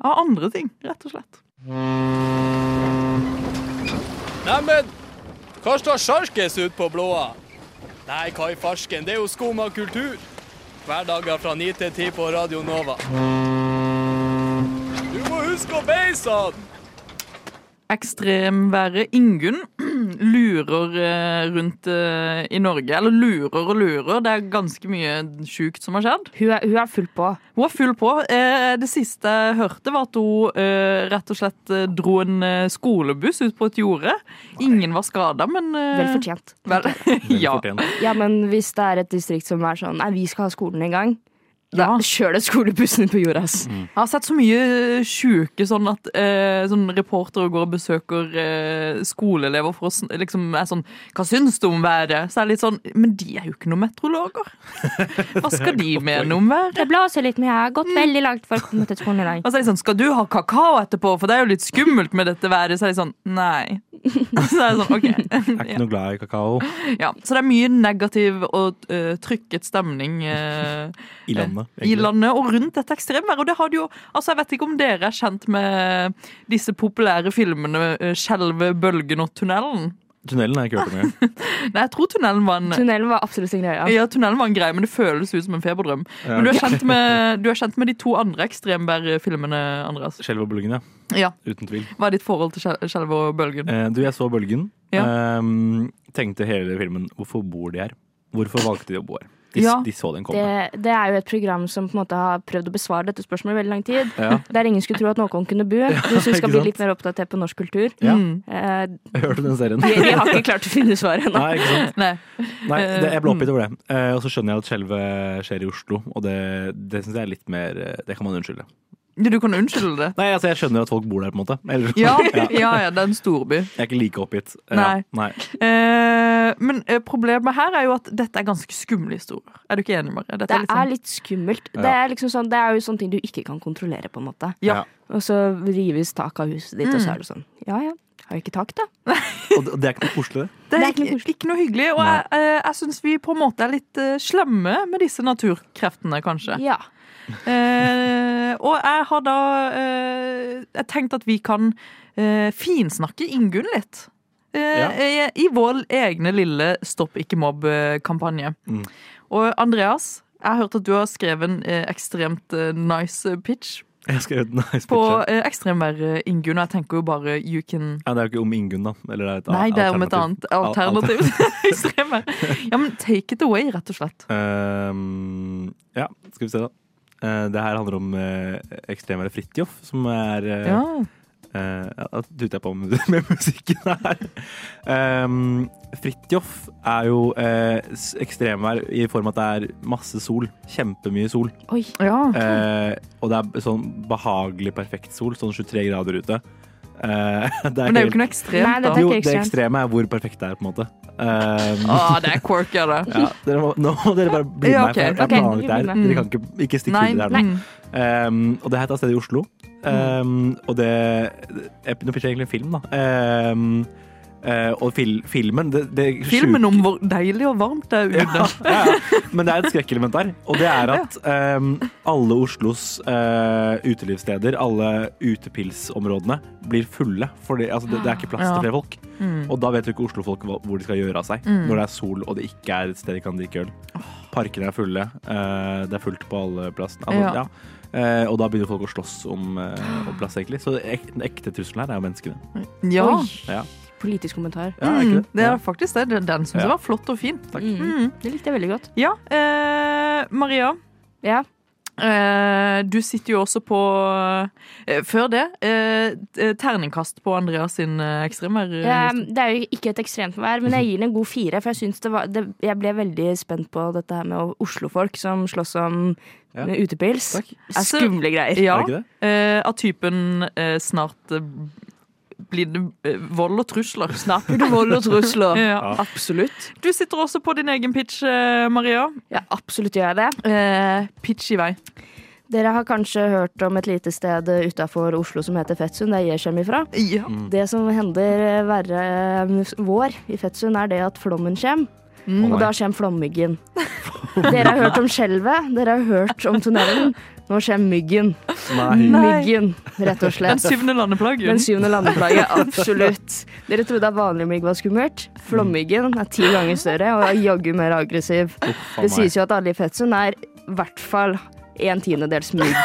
Speaker 3: av andre ting, rett og slett.
Speaker 9: Neimen, hva står sjarkes ut på blåa? Nei, hva i farsken, det er jo skum av kultur. Hverdager fra 9 til 10 på Radio Nova. Du må huske å beise han!
Speaker 3: Ekstremværet Ingunn lurer eh, rundt eh, i Norge. Eller lurer og lurer, det er ganske mye sjukt som har skjedd.
Speaker 5: Hun er, hun er full på.
Speaker 3: Hun er full på. Eh, Det siste jeg hørte, var at hun eh, rett og slett eh, dro en eh, skolebuss ut på et jorde. Ingen var skada, men eh,
Speaker 5: Vel fortjent.
Speaker 3: vel- ja.
Speaker 4: Fortjent.
Speaker 5: Ja, men hvis det er et distrikt som er sånn Nei, vi skal ha skolen en gang.
Speaker 3: ja.
Speaker 5: Kjør det skolebussen på jorda, ass.
Speaker 3: Jeg har sett så mye sjuke sånn at eh, sånn reportere går og besøker eh, skoleelever for å sn- liksom er sånn Hva syns du om været? Så er det litt sånn Men de er jo ikke noen meteorologer. Hva skal de mene om været?
Speaker 5: Det blåser litt, men jeg har gått veldig langt for å komme til skolen i
Speaker 3: Og
Speaker 5: dag.
Speaker 3: så er de sånn, Skal du ha kakao etterpå, for det er jo litt skummelt med dette været? Så er de sånn Nei. Så er det sånn, ok
Speaker 4: Jeg er ikke noe glad i kakao
Speaker 3: ja. Så det er mye negativ og eh, trykket stemning. eh,
Speaker 4: i landet.
Speaker 3: i
Speaker 4: egentlig.
Speaker 3: landet og rundt dette ekstremværet. Og det har det jo, altså Jeg vet ikke om dere er kjent med disse populære filmene eh, 'Skjelve bølgen og tunnelen'?
Speaker 4: Tunnelen har jeg ikke hørt om engang.
Speaker 3: Nei, jeg tror tunnelen var en
Speaker 5: Tunnelen var absolutt en greie.
Speaker 3: ja, tunnelen var en greie, men det føles ut som en feberdrøm. Men du er kjent med, du er kjent med de to andre ekstremværfilmene, Andreas.
Speaker 4: Skjelv og bølgen, ja.
Speaker 3: Ja.
Speaker 4: Uten tvil.
Speaker 3: Hva er ditt forhold til Skjel- Skjelv og Bølgen?
Speaker 4: Eh, du, jeg så Bølgen.
Speaker 3: Ja.
Speaker 4: Ehm, tenkte hele filmen hvorfor bor de her? Hvorfor valgte de å bo her? De,
Speaker 3: Ja.
Speaker 4: de så den komme.
Speaker 5: Det, det er jo et program som på en måte har prøvd å besvare dette spørsmålet i veldig lang tid.
Speaker 4: Ja.
Speaker 5: Der ingen skulle tro at noen kunne bo. Hvis vi
Speaker 4: ikke
Speaker 5: skal bli
Speaker 4: sant?
Speaker 5: litt mer oppdatert på norsk kultur.
Speaker 4: Ja.
Speaker 3: Mm.
Speaker 5: Eh,
Speaker 4: Jeg hørte den serien.
Speaker 5: de, de har ikke klart å finne svaret ennå.
Speaker 4: Nei, ikke sant?
Speaker 3: Nei.
Speaker 4: Nei,
Speaker 3: Eh,
Speaker 4: det, jeg ble oppgitt over det. Eh, og så skjønner jeg at skjelvet skjer i Oslo, og det, det syns jeg er litt mer eh, Det kan man unnskylde.
Speaker 3: Du kan unnskylde det.
Speaker 4: Nei, altså, jeg skjønner at folk bor der, på en måte. Eller,
Speaker 3: Ja, ja, ja, det er en storby.
Speaker 4: Jeg er ikke like oppgitt. Ja,
Speaker 3: Nei.
Speaker 4: nei.
Speaker 3: Eh, men eh, problemet her er jo at dette er ganske skumle historier. Er du ikke enig, Marie? Dette
Speaker 5: Det
Speaker 3: er litt
Speaker 5: er
Speaker 3: sånn-
Speaker 5: litt skummelt.
Speaker 4: Ja.
Speaker 5: Det, er liksom sånn, det er jo sånne ting du ikke kan kontrollere, på en måte.
Speaker 3: Ja.
Speaker 5: Og så rives tak av huset ditt, og så er det sånn. Ja ja, har vi ikke tak, da?
Speaker 4: Og det, og det er ikke noe koselig, det.
Speaker 3: Det er
Speaker 5: Det er ikke noe
Speaker 3: ikke, ikke noe hyggelig, og jeg, eh, jeg syns vi på en måte er litt eh, slemme med disse naturkreftene, kanskje.
Speaker 5: Ja.
Speaker 3: Eh, og jeg har da eh, jeg tenkt at vi kan eh, finsnakke Ingunn litt. Eh, eh, I vår egne lille Stopp ikke mobb-kampanje.
Speaker 4: Mm.
Speaker 3: Og Andreas, jeg har hørt at du har skrevet en eh, ekstremt eh, nice pitch
Speaker 4: Jeg skrev et nice
Speaker 3: på
Speaker 4: picture.
Speaker 3: eh, ekstremvær eh, Ingunn, og jeg tenker jo bare you can
Speaker 4: Ja, det er jo ikke om Ingunn, da. Eller det er et
Speaker 3: Nei, det er om et
Speaker 4: alternativ.
Speaker 3: annet alternativ. Ekstremvær. Ja, men take it away, rett og slett.
Speaker 4: Ehm, ja, skal vi se, da. Eh, det her handler om eh, ekstremværet Fridtjof, som er eh,
Speaker 3: Ja.
Speaker 4: Eh, ja, Da tuter jeg på med, med musikken her. Um, Fridtjof er jo eh, s- ekstremvær i form av at det er masse sol. Kjempemye sol.
Speaker 5: Oi.
Speaker 3: ja.
Speaker 4: Eh, og det er sånn behagelig perfekt sol, sånn 23 grader ute. Eh,
Speaker 3: Men
Speaker 4: det
Speaker 3: det er jo
Speaker 4: helt-
Speaker 3: ikke noe ekstremt,
Speaker 5: Nei, det er
Speaker 3: da.
Speaker 5: ikke
Speaker 4: jo, det
Speaker 5: ekstremt.
Speaker 4: ekstreme er hvor perfekt det er, på en måte. Um,
Speaker 3: Å, det er quirky av det.
Speaker 4: ja, dere må, nå må dere bare bli
Speaker 3: Ja,
Speaker 4: med meg, for jeg
Speaker 3: ok,
Speaker 4: har planlagt
Speaker 5: ok,
Speaker 4: det her.
Speaker 3: bli med.
Speaker 4: Dere kan ikke, ikke stikke
Speaker 3: Mm. Nei,
Speaker 4: hull i det her nå.
Speaker 3: nei. Mm.
Speaker 4: Um, og det her er et sted i Oslo. Um, og det jeg- Nå fikk jeg egentlig en film, da. Um, eh, og fil, filmen det, det
Speaker 3: Filmen om hvor deilig og varmt det er ute.
Speaker 4: ja, ja, ja. Men det er et skrekkelement der. Og det er at um, alle Oslos eh, utelivssteder, alle utepilsområdene, blir fulle. Fordi altså, det, det er ikke plass
Speaker 3: Ja.
Speaker 4: til flere folk.
Speaker 3: Mm.
Speaker 4: Og da vet jo ikke Oslo-folk hva- hvor de skal gjøre av seg. Når det er sol og det ikke er et sted de kan drikke øl. Parkene er fulle. eh, det er fullt på alle plassene. Altså,
Speaker 3: Ja.
Speaker 4: ja. Eh, og da begynner folk å slåss om, eh, om plass, egentlig. Så ek den ekte trusselen her er jo menneskene.
Speaker 3: Ja,
Speaker 5: Oi.
Speaker 4: Ja.
Speaker 5: Politisk kommentar.
Speaker 4: Ja, er ikke det?
Speaker 3: Mm, det
Speaker 4: Ja.
Speaker 3: er faktisk det. Den- Den syns jeg
Speaker 4: Ja.
Speaker 3: var flott og fin.
Speaker 5: Mm. Det likte jeg veldig godt.
Speaker 3: Ja, eh, Maria.
Speaker 5: Ja.
Speaker 3: Eh, du sitter jo også på eh, Før det, eh, eh, terningkast på Andreas sin eh, ekstremer.
Speaker 5: Eh, Det er jo ikke et ekstremt vær, men jeg gir den en god fire. For jeg, synes det var, det, jeg ble veldig spent på dette her med Oslo-folk som slåss om
Speaker 4: Ja.
Speaker 5: eh, utepils.
Speaker 4: Takk.
Speaker 5: Det er Skumle greier.
Speaker 3: ja,
Speaker 4: Er det ikke det?
Speaker 3: eh, av typen eh, snart eh, blir det eh, vold og trusler. Snart blir det
Speaker 5: Vold og trusler.
Speaker 3: Ja.
Speaker 5: Absolutt.
Speaker 3: Du sitter også på din egen pitch, eh, Maria.
Speaker 5: Ja, absolutt gjør jeg det.
Speaker 3: Eh, pitch i vei.
Speaker 5: Dere har kanskje hørt om et lite sted utafor Oslo som heter Fettsund, der jeg kommer ifra.
Speaker 3: Ja.
Speaker 4: Mm.
Speaker 5: Det som hender verre eh, vår i Fettsund, er det at flommen kommer.
Speaker 4: Å,
Speaker 5: Og
Speaker 4: nei.
Speaker 5: da kommer flommyggen. Dere har hørt om skjelvet, dere har hørt om tunnelen. Nå kommer myggen.
Speaker 4: Nei.
Speaker 3: Nei.
Speaker 5: Myggen, rett og
Speaker 3: Den
Speaker 5: slett.
Speaker 3: syvende landeplagen.
Speaker 5: Den syvende landeplaget, absolutt. Dere trodde at vanlig mygg var skummelt. Flommyggen er ti ganger større og er jaggu mer aggressiv.
Speaker 4: Uff, faen
Speaker 5: Det
Speaker 4: meg.
Speaker 5: sies jo at alle i Fetsund er i hvert fall en tiendedels mygg.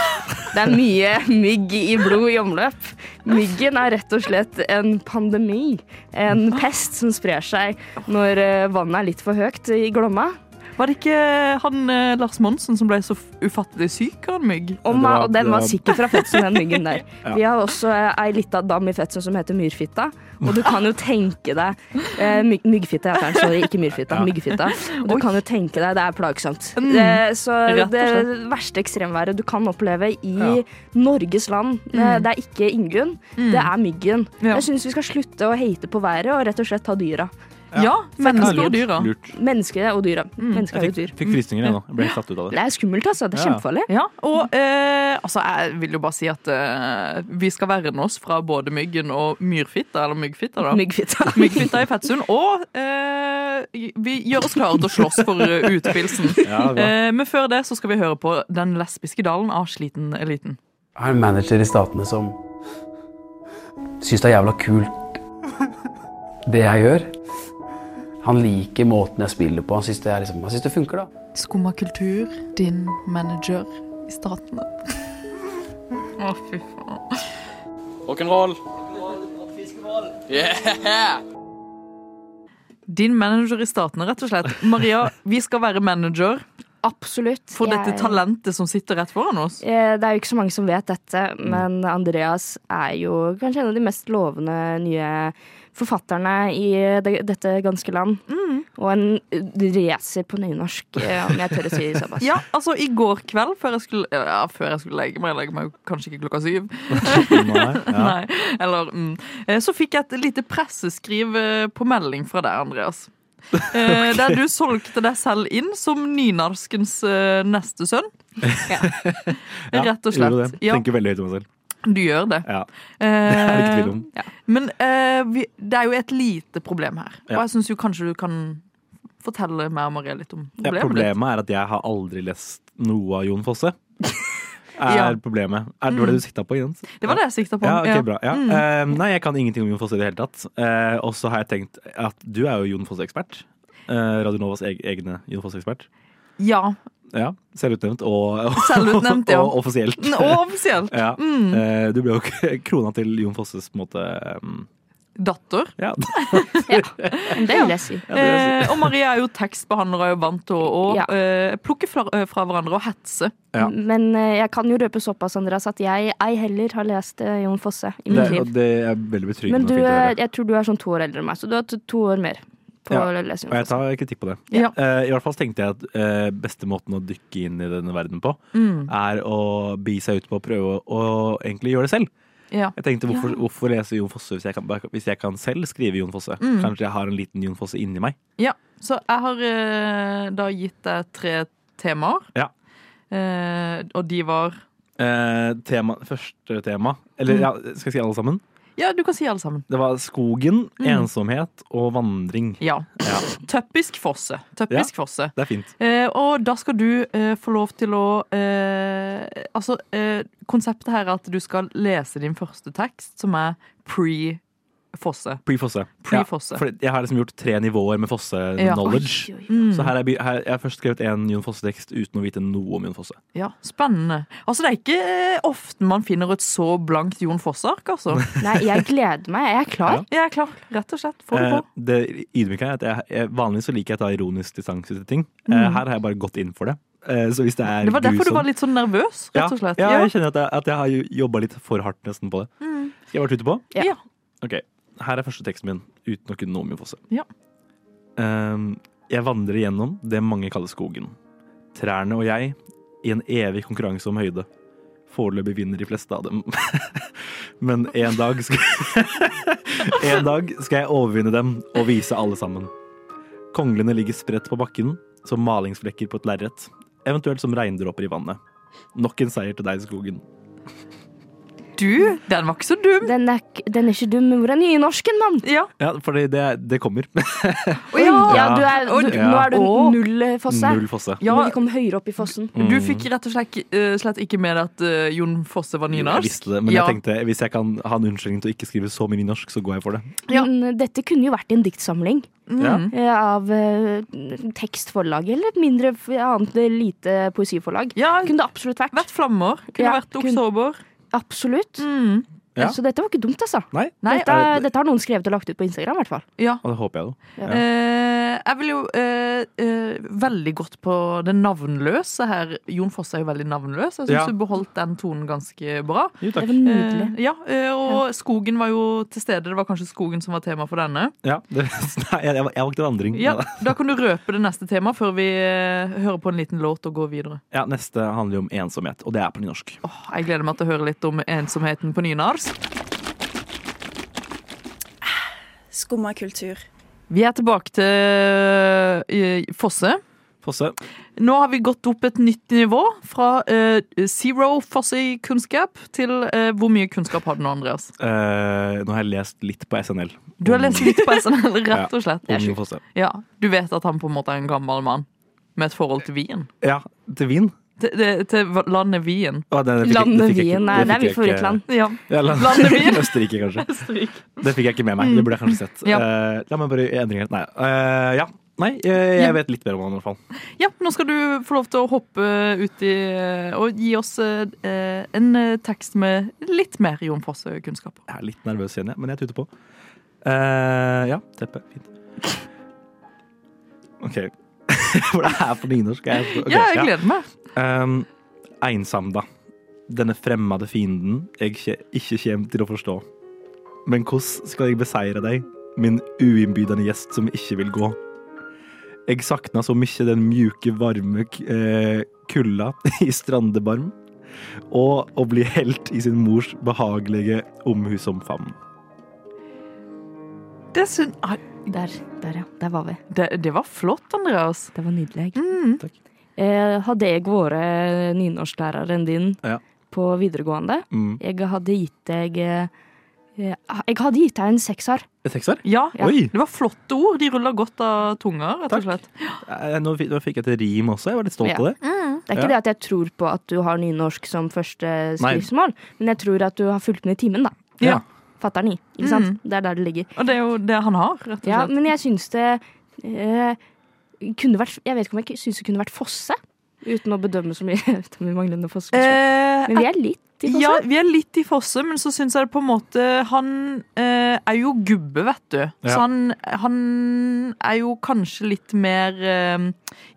Speaker 5: Det er mye mygg i blod i omløp. Myggen er rett og slett en pandemi. En pest som sprer seg når eh, vannet er litt for høyt i Glomma.
Speaker 3: Var det ikke han eh, Lars Monsen som ble så f- ufattelig syk av en mygg?
Speaker 5: Og,
Speaker 4: Det var-
Speaker 5: ma- og den
Speaker 4: det
Speaker 5: var
Speaker 4: var-
Speaker 5: sikkert fra Fetsund, den myggen der.
Speaker 4: Ja.
Speaker 5: Vi har også eh, ei lita dam i Fetsund som heter Myrfitta. Og du kan jo tenke deg eh, myg- Myggfitta heter den, sorry. Ikke myrfitta, myggfitta. Og du kan jo tenke deg, det er plagsomt. Det, så
Speaker 3: Rett og
Speaker 5: det
Speaker 3: slett.
Speaker 5: verste ekstremværet du kan oppleve i
Speaker 4: Ja.
Speaker 5: Norges land, eh, det er ikke Ingunn, det er myggen.
Speaker 3: Ja.
Speaker 5: Jeg syns vi skal slutte å hate på været og rett og slett ta dyra.
Speaker 3: Ja, mennesker og dyra.
Speaker 4: Lurt.
Speaker 5: Mennesker og dyra. Mennesker er
Speaker 4: Jeg
Speaker 5: jo dyr.
Speaker 4: fikk, fikk frysninger, jeg nå. Jeg ble helt satt ut av det.
Speaker 5: Det er skummelt, altså. Det er
Speaker 4: Ja.
Speaker 5: kjempefarlig.
Speaker 3: Ja, og eh, altså, jeg vil jo bare si at eh, vi skal verne oss fra både myggen og myrfitta, eller myggfitta, da.
Speaker 5: Myggfitta.
Speaker 3: Myggfitta i Fettsund. Og eh, vi gjør oss klare til å slåss for eh, utepilsen.
Speaker 4: Ja, det er bra.
Speaker 3: Eh, men før det så skal vi høre på Den lesbiske dalen av Sliten eliten.
Speaker 10: Jeg er en manager i statene som syns det er jævla kult det jeg gjør. Han liker måten jeg spiller på. Han syns det, er liksom, han synes det funker, da.
Speaker 7: Skumma kultur, din manager i statene.
Speaker 3: Å, fy faen.
Speaker 9: Rock'n'roll. Yeah!
Speaker 3: Din manager i statene, rett og slett. Maria, vi skal være manager
Speaker 5: Absolutt.
Speaker 3: for dette
Speaker 5: Jeg-
Speaker 3: talentet som sitter rett foran oss.
Speaker 5: Eh, Det er jo ikke så mange som vet dette,
Speaker 3: Mm.
Speaker 5: men Andreas er jo kanskje en av de mest lovende nye forfatterne i det, dette ganske land.
Speaker 3: Mm.
Speaker 5: Og en racer på nynorsk, eh, om jeg tør å si såpass.
Speaker 3: Ja, altså i går kveld, før jeg skulle, ja, før jeg skulle legge meg, jeg legger meg jo kanskje ikke klokka syv,
Speaker 4: Nei, ja.
Speaker 3: Nei, eller mm. Eh, Så fikk jeg et lite presseskriv eh, på melding fra deg, Andreas. Eh, Der du solgte deg selv inn som nynorskens eh, neste sønn.
Speaker 4: Ja,
Speaker 3: Rett og
Speaker 4: jeg gjorde
Speaker 3: slett.
Speaker 4: det.
Speaker 3: Ja. Eh,
Speaker 4: Tenker veldig høyt om meg selv.
Speaker 3: Du gjør det.
Speaker 4: Ja.
Speaker 3: Det
Speaker 4: er det ikke tvil om.
Speaker 3: Ja. Men eh, vi, det er jo et lite problem her.
Speaker 4: Ja.
Speaker 3: Og jeg syns jo kanskje du kan fortelle meg og Maria litt om
Speaker 4: Ja,
Speaker 3: problemet. ditt.
Speaker 4: problemet er at jeg har aldri lest noe av Jon Fosse. Er
Speaker 3: Ja. Mm.
Speaker 4: problemet. Er det var det du sikta på? Jens?
Speaker 3: Det var det jeg sikta på.
Speaker 4: Ja, ok,
Speaker 3: Ja. Mm.
Speaker 4: bra. Ja. Eh, nei, jeg kan ingenting om Jon Fosse i det hele tatt. Eh, og så har jeg tenkt at du er jo Jon Fosse-ekspert. Eh, Radio Novas eg egne Jon Fosse-ekspert.
Speaker 3: ja.
Speaker 4: Ja, Selvutnevnt og, og,
Speaker 3: Selvutnevnt, ja. mm.
Speaker 4: og offisielt.
Speaker 3: N- Og offisielt.
Speaker 4: Ja. Eh, du ble jo k- krona til Jon Fosses på en måte um,
Speaker 3: Datter.
Speaker 4: Ja,
Speaker 5: Det vil jeg si.
Speaker 3: Eh, og Maria er jo tekstbehandler og er jo vant til å å,
Speaker 5: Ja.
Speaker 3: eh, plukke fra, eh, fra hverandre og hetse.
Speaker 4: Ja.
Speaker 5: Men eh, jeg kan jo røpe såpass, Andreas, at jeg ei heller har lest eh, Jon Fosse i
Speaker 4: det,
Speaker 5: mitt
Speaker 4: og
Speaker 5: liv.
Speaker 4: det er veldig betryggende.
Speaker 5: Men du,
Speaker 4: og fint å
Speaker 5: er-
Speaker 4: høre.
Speaker 5: jeg tror du er sånn to år eldre enn meg, så du har t- to år mer på
Speaker 4: Ja,
Speaker 5: å
Speaker 4: Og
Speaker 5: lese Jon
Speaker 4: jeg
Speaker 5: Fosse.
Speaker 4: tar kritikk på det.
Speaker 3: Ja.
Speaker 4: Eh, I hvert fall så tenkte jeg at eh, beste måten å dykke inn i denne verden på, er å bi seg ut på å prøve å å egentlig gjøre det selv.
Speaker 3: Ja.
Speaker 4: Jeg tenkte hvorfor, hvorfor lese Jon Fosse hvis jeg, kan, hvis jeg kan selv skrive Jon Fosse? Kanskje jeg har en liten Jon Fosse inni meg?
Speaker 3: ja. Så jeg har eh, da gitt deg tre temaer.
Speaker 4: Ja.
Speaker 3: Eh, og de var
Speaker 4: Eh, tema, første tema, eller ja, skal jeg si alle sammen?
Speaker 3: Ja, du kan si alle sammen.
Speaker 4: Det var skogen, ensomhet og vandring.
Speaker 3: Ja.
Speaker 4: Ja,
Speaker 3: Tøppisk Fosse. Tøppisk Fosse.
Speaker 4: det er fint.
Speaker 3: Eh, og da skal du eh, få lov til å eh, Altså, eh, konseptet her er at du skal lese din første tekst, som er pre-Fosse.
Speaker 4: Pre-Fosse.
Speaker 3: Pre-Fosse.
Speaker 4: Ja, for jeg har liksom gjort tre nivåer med Fosse-knowledge.
Speaker 5: Oi, oi, oi.
Speaker 4: Så her er, by- her, jeg har først skrevet en Jon Fosse-tekst uten å vite noe om Jon Fosse.
Speaker 3: Ja, Spennende. Altså, Det er ikke eh, ofte man finner et så blankt Jon Fosse-ark, altså.
Speaker 5: Nei, jeg gleder meg. Jeg er klar.
Speaker 3: Jeg er klar, rett og slett. Få det
Speaker 4: Eh,
Speaker 3: på.
Speaker 4: det ydmyke er at jeg, jeg, vanligvis så liker jeg å ta ironisk distanse til ting. Eh, her har jeg bare gått inn for det. Eh, så hvis det er
Speaker 3: Mm. Det var derfor du
Speaker 4: grusomt-
Speaker 3: var litt sånn nervøs, rett og slett.
Speaker 4: Ja, ja, jeg kjenner at jeg, at jeg har jobba litt for hardt nesten på det. Skal jeg bare tute på?
Speaker 5: Ja.
Speaker 3: Mm. Ja.
Speaker 4: Ok, Her er første teksten min, uten å kunne noe om Jon Fosse.
Speaker 3: Ja.
Speaker 4: Ehm, jeg vandrer gjennom det mange kaller skogen. Trærne og jeg i en evig konkurranse om høyde. Foreløpig vinner de fleste av dem. Men en dag skal En dag skal jeg overvinne dem og vise alle sammen. Konglene ligger spredt på bakken, som malingsflekker på et lerret. Eventuelt som regndråper i vannet. Nok en seier til deg, skogen.
Speaker 3: Du, den var ikke så dum.
Speaker 5: Den er, k- den er ikke dum, men hvor er nynorsken, mann?
Speaker 3: Ja.
Speaker 4: Ja, for det, det kommer.
Speaker 5: Oi, ja,
Speaker 4: Ja.
Speaker 5: du er, du,
Speaker 4: Ja.
Speaker 5: Nå er du
Speaker 3: Å.
Speaker 5: null eh, fosse.
Speaker 4: Null fosse.
Speaker 3: Ja,
Speaker 5: Men vi kom høyere opp i fossen.
Speaker 3: Du
Speaker 4: Mm.
Speaker 3: fikk rett og slett, eh, slett ikke med deg at eh, Jon Fosse var nynorsk?
Speaker 4: Jeg visste det, men
Speaker 3: ja.
Speaker 4: jeg tenkte hvis jeg kan ha en unnskyldning til å ikke skrive så mye nynorsk, så går jeg for det.
Speaker 3: Ja.
Speaker 5: Men eh, dette kunne jo vært en diktsamling
Speaker 4: Ja.
Speaker 3: Mm.
Speaker 5: eh, av eh, tekstforlag eller et mindre f- annet eh, lite poesiforlag.
Speaker 3: Ja,
Speaker 5: Kunne det absolutt vært.
Speaker 3: vært flammer. Kunne
Speaker 5: Ja,
Speaker 3: vært
Speaker 5: kun-
Speaker 3: oktober. Mm.
Speaker 5: Absolutt.
Speaker 4: Mm. Ja.
Speaker 5: Så dette var ikke dumt, altså.
Speaker 4: Nei,
Speaker 3: Nei,
Speaker 5: dette,
Speaker 4: er det-
Speaker 5: dette har noen skrevet og lagt ut på Instagram, i hvert fall.
Speaker 3: Ja.
Speaker 4: og det håper jeg jo. Ja.
Speaker 3: Eh, jeg vil jo eh, eh, veldig godt på det navnløse her. Jon Fosse er jo veldig navnløs. Jeg syns
Speaker 4: Ja.
Speaker 3: du beholdt den tonen ganske bra.
Speaker 4: Jo,
Speaker 5: Det
Speaker 4: takk.
Speaker 5: var nydelig.
Speaker 3: Eh, ja, eh, og skogen var jo til stede. Det var kanskje skogen som var tema for denne.
Speaker 4: Ja, det, nei, jeg, jeg valgte vandring.
Speaker 3: Ja, Da kan du røpe det neste temaet før vi eh, hører på en liten låt og går videre.
Speaker 4: Ja, neste handler jo om ensomhet, og det er på nynorsk.
Speaker 3: Åh, jeg gleder meg til å høre litt om ensomheten på nynorsk.
Speaker 11: Skumma kultur.
Speaker 3: Vi er tilbake til eh, Fosse.
Speaker 4: Fosse.
Speaker 3: Nå har vi gått opp et nytt nivå, fra eh, zero Fosse-kunnskap til eh, hvor mye kunnskap har du nå, Andreas?
Speaker 4: eh, nå har jeg lest litt på SNL.
Speaker 3: Du har lest litt på SNL, rett og slett.
Speaker 4: Om Jon Fosse.
Speaker 3: Ja, Du vet at han på en måte er en gammel mann med et forhold til vin?
Speaker 4: Ja, til vin.
Speaker 3: Til, det- til landet Wien.
Speaker 4: Å, det- det fikk jeg- det
Speaker 5: Landet
Speaker 4: fikk jeg ikke-
Speaker 5: Wien
Speaker 4: fikk
Speaker 5: er, det er mitt
Speaker 4: jeg ikke-
Speaker 5: favorittland.
Speaker 3: Ja.
Speaker 4: Ja, land-
Speaker 3: Landet Wien.
Speaker 4: Østerrike, kanskje.
Speaker 3: Stryk.
Speaker 4: Det fikk jeg ikke med meg. Det burde jeg kanskje sett.
Speaker 3: Mm. Ja.
Speaker 4: Eh, la meg bare endre helt. Nei. eh, ja. Nei,
Speaker 3: Ja.
Speaker 4: eh, jeg vet litt bedre om han i hvert fall.
Speaker 3: Ja, nå skal du få lov til å hoppe ut i og gi oss eh, en eh, tekst med litt mer Jon Fosse-kunnskaper.
Speaker 4: Jeg er litt nervøs igjen, jeg, men jeg tuter på. Eh, ja, teppe. Fint. OK. For det er på nynorsk. Jeg, ok,
Speaker 3: ja, jeg gleder meg.
Speaker 4: Um, Einsamda. Denne fremmede fienden jeg kje- ikke kommer til å forstå. Men hvordan skal jeg beseire deg, min uinnbydende gjest som ikke vil gå? Jeg sakna så mye den mjuke, varme k- eh, kulda i strandebarm, og å bli helt i sin mors behagelige omhusomfavn.
Speaker 3: Det, syn- ah,
Speaker 5: Der, der, ja. Der var vi.
Speaker 3: det, det var flott, Andreas.
Speaker 5: Det var nydelig.
Speaker 3: Mm.
Speaker 5: Eh, hadde jeg vært nynorsklærer enn din
Speaker 4: Ja.
Speaker 5: på videregående,
Speaker 4: Mm.
Speaker 5: jeg hadde gitt deg eh, eh, Jeg hadde gitt deg en sekser.
Speaker 4: Et Sekser?
Speaker 3: Ja, ja.
Speaker 4: Oi.
Speaker 3: Det var flotte ord. De rulla godt av tunga, rett og
Speaker 4: Takk.
Speaker 3: slett.
Speaker 4: Eh, Nå fikk nå fikk jeg til rim også. Jeg var litt stolt
Speaker 5: Ja.
Speaker 4: av det.
Speaker 5: Det er ikke det at jeg tror på at du har nynorsk som første
Speaker 4: Nei.
Speaker 5: skriftmål, men jeg tror at du har fulgt med i timen, da.
Speaker 3: Ja.
Speaker 5: Fatter'n i, ikke sant?
Speaker 3: Mm.
Speaker 5: Det er der det ligger.
Speaker 3: Og det er jo det han har, rett og
Speaker 5: Ja,
Speaker 3: slett.
Speaker 5: men jeg syns det eh, kunne vært Jeg vet ikke om jeg syns det kunne vært Fosse, uten å bedømme så mye ut om vi mangler noe Fosse.
Speaker 3: Eh,
Speaker 5: Men vi er litt i Fosse.
Speaker 3: Ja, vi er litt i Fosse, men så syns jeg det på en måte Han eh, er jo gubbe, vet du. Så
Speaker 4: Ja.
Speaker 3: han, han er jo kanskje litt mer eh,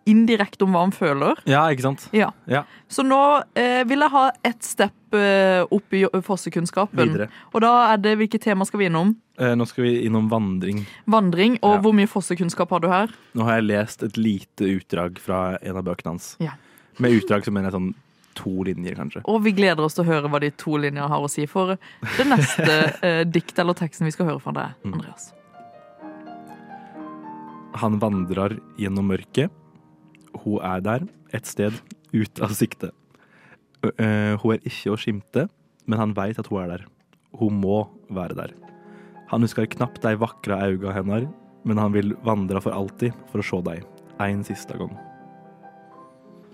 Speaker 3: indirekte om hva han føler.
Speaker 4: Ja, ikke sant?
Speaker 3: Ja.
Speaker 4: Ja.
Speaker 3: Så nå eh, vil jeg ha ett step eh, opp i jo- Fossekunnskapen.
Speaker 4: Videre.
Speaker 3: Og da er det hvilket tema skal vi innom?
Speaker 4: Eh, Nå skal vi innom vandring.
Speaker 3: Vandring. Og
Speaker 4: Ja.
Speaker 3: hvor mye fossekunnskap har du her?
Speaker 4: Nå har jeg lest et lite utdrag fra en av bøkene hans.
Speaker 3: Ja.
Speaker 4: Med utdrag så mener jeg sånn to linjer, kanskje.
Speaker 3: Og vi gleder oss til å høre hva de to linjene har å si for det neste eh, dikt eller teksten vi skal høre fra deg,
Speaker 4: Mm.
Speaker 3: Andreas.
Speaker 4: Han vandrer gjennom mørket. Hun er der, et sted ute av sikte. Ø- ø, Hun er ikke å skimte, men han veit at hun er der. Hun må være der. Han husker knapt de vakre auga hennes, men han vil vandre for alltid for å se deg. En siste gang.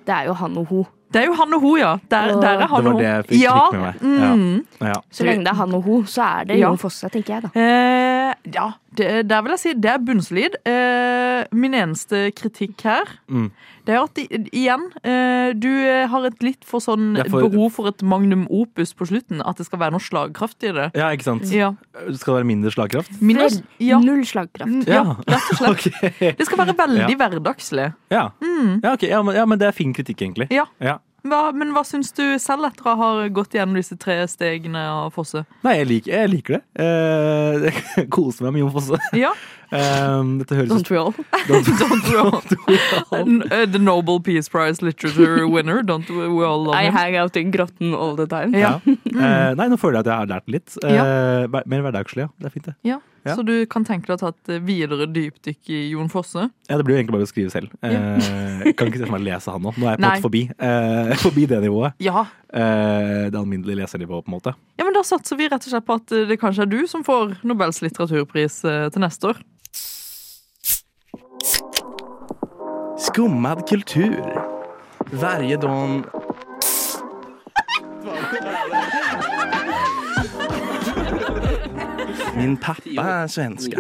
Speaker 5: Det er jo han og hun.
Speaker 3: Det er jo han og hun, ja. Der,
Speaker 5: Åh.
Speaker 3: der er han
Speaker 4: Det var
Speaker 3: og hun.
Speaker 4: det jeg fikk-
Speaker 3: ja.
Speaker 4: fikk med meg.
Speaker 3: Mm.
Speaker 4: Ja.
Speaker 5: Så lenge det er han og hun, så er det
Speaker 3: Ja.
Speaker 5: Jon Fosse, tenker jeg, da.
Speaker 3: Eh, ja, det, der vil jeg si det er bunnsolid. Eh, min eneste kritikk her,
Speaker 4: Mm.
Speaker 3: det er at i- igjen, eh, du eh, har et litt for sånn
Speaker 4: Jeg får-
Speaker 3: behov for et magnum opus på slutten. At det skal være noe slagkraft i det.
Speaker 4: ja, ikke sant?
Speaker 3: Ja.
Speaker 4: Det skal være mindre slagkraft?
Speaker 3: Mindre-
Speaker 5: Vel, Mm.
Speaker 3: ja.
Speaker 5: Null slagkraft.
Speaker 3: ja, rett og slett.
Speaker 4: Ok.
Speaker 3: Det skal være veldig hverdagslig.
Speaker 4: Ja. Ja, ok. ja, men, ja, men det er fin kritikk, egentlig.
Speaker 3: Mm. Ja.
Speaker 4: Ja.
Speaker 3: Hva, men hva syns du selv etter å ha gått gjennom disse tre stegene av Fosse?
Speaker 4: Nei, jeg liker, jeg liker det. Eh, jeg koser meg med Jon Fosse.
Speaker 3: Ja,
Speaker 4: Eh, dette høres
Speaker 5: Don't we all?
Speaker 3: don't we all- N- eh, The Nobel Peace Prize Literature winner, don't we all love
Speaker 5: I
Speaker 3: him?
Speaker 5: hang out in grotten all the time.
Speaker 3: Ja. Mm.
Speaker 4: Eh, Nei, nå føler jeg at jeg har lært litt. Eh, hver- Mer hverdagslig, ja. Det er fint, det.
Speaker 3: Ja.
Speaker 4: Ja.
Speaker 3: Så du kan tenke deg å ta et eh, videre dypdykk i Jon Fosse?
Speaker 4: Ja, det blir jo egentlig bare å skrive selv. Eh, jeg kan ikke se for meg å lese han nå. Nå er jeg på en
Speaker 3: Nei.
Speaker 4: måte forbi, eh, forbi det nivået.
Speaker 3: Ja.
Speaker 4: Eh, det alminnelige lesernivået, på en måte.
Speaker 3: ja, men Da satser vi rett og slett på at eh, det kanskje er du som får Nobels litteraturpris eh, til neste år.
Speaker 8: Skummad kultur. Varje dag Min pappa är svenska.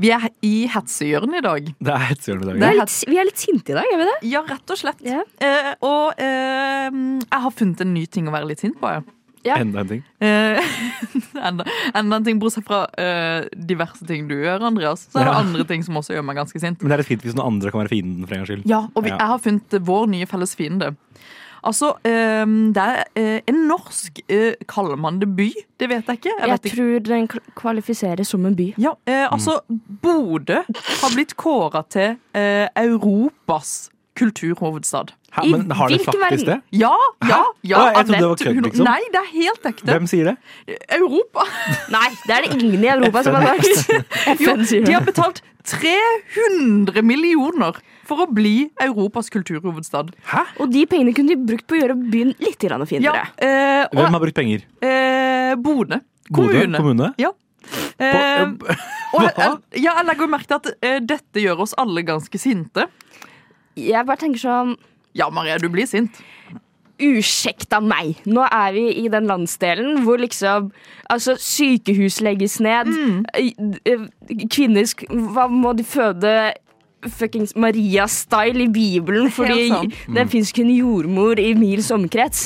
Speaker 3: Vi er i hetsehjørnet i dag.
Speaker 4: Det er hetshjørnet i dag.
Speaker 5: Vi
Speaker 4: ja.
Speaker 5: er litt, vi er litt sinte i dag, gjør vi det?
Speaker 3: Ja, rett og slett.
Speaker 5: Ja.
Speaker 3: Eh, og eh, jeg har funnet en ny ting å være litt sint på. Ja.
Speaker 5: Ja.
Speaker 4: Enda en ting.
Speaker 3: Eh, enda, enda en ting, bortsett fra eh, diverse ting du gjør, Andreas. Så er det
Speaker 4: Ja.
Speaker 3: andre ting som også gjør meg ganske sint.
Speaker 4: Men det er litt fint hvis noen andre kan være fienden, for en gangs skyld.
Speaker 3: Ja, og vi,
Speaker 4: Ja.
Speaker 3: jeg har funnet eh, vår nye felles fiende. Altså, eh, det er eh, en norsk eh, Kaller man det by? Det vet jeg ikke. Jeg
Speaker 5: Jeg
Speaker 3: vet ikke.
Speaker 5: tror den kl- kvalifiseres som en by.
Speaker 3: Ja, eh, altså, Bodø har blitt kåra til eh, Europas kulturhovedstad.
Speaker 4: Hæ,
Speaker 5: I
Speaker 4: men har det
Speaker 5: hvilken
Speaker 4: faktisk
Speaker 5: verden?
Speaker 4: det?
Speaker 3: Ja, ja, ja.
Speaker 4: Å, jeg trodde det var
Speaker 3: Annette
Speaker 4: kødd,
Speaker 3: Huno-
Speaker 4: liksom.
Speaker 3: Nei, det er helt ekte.
Speaker 4: Hvem sier det?
Speaker 3: Europa.
Speaker 5: Nei, det er det ingen i Europa som har sagt!
Speaker 3: Jo,
Speaker 5: FN sier
Speaker 3: de har
Speaker 5: det.
Speaker 3: betalt 300 millioner for å bli Europas kulturhovedstad.
Speaker 5: Og de pengene kunne de brukt på å gjøre byen litt grann
Speaker 3: Ja,
Speaker 5: finere.
Speaker 3: eh,
Speaker 4: Hvem
Speaker 3: og
Speaker 4: har brukt penger?
Speaker 3: eh, Bodø
Speaker 4: Bodø
Speaker 3: kommune.
Speaker 4: kommune?
Speaker 3: Ja. Eh, og jeg, jeg, ja, jeg legger jo merke til at eh, dette gjør oss alle ganske sinte.
Speaker 5: Jeg bare tenker sånn
Speaker 3: Ja, Maria, du blir sint.
Speaker 5: Usjekta meg! Nå er vi i den landsdelen hvor liksom Altså, sykehus legges ned.
Speaker 3: Mm.
Speaker 5: eh, Kvinner sk- Hva må de føde? Fuckings Maria-style i Bibelen, fordi
Speaker 3: sant. Mm.
Speaker 5: det fins kun jordmor i mils omkrets.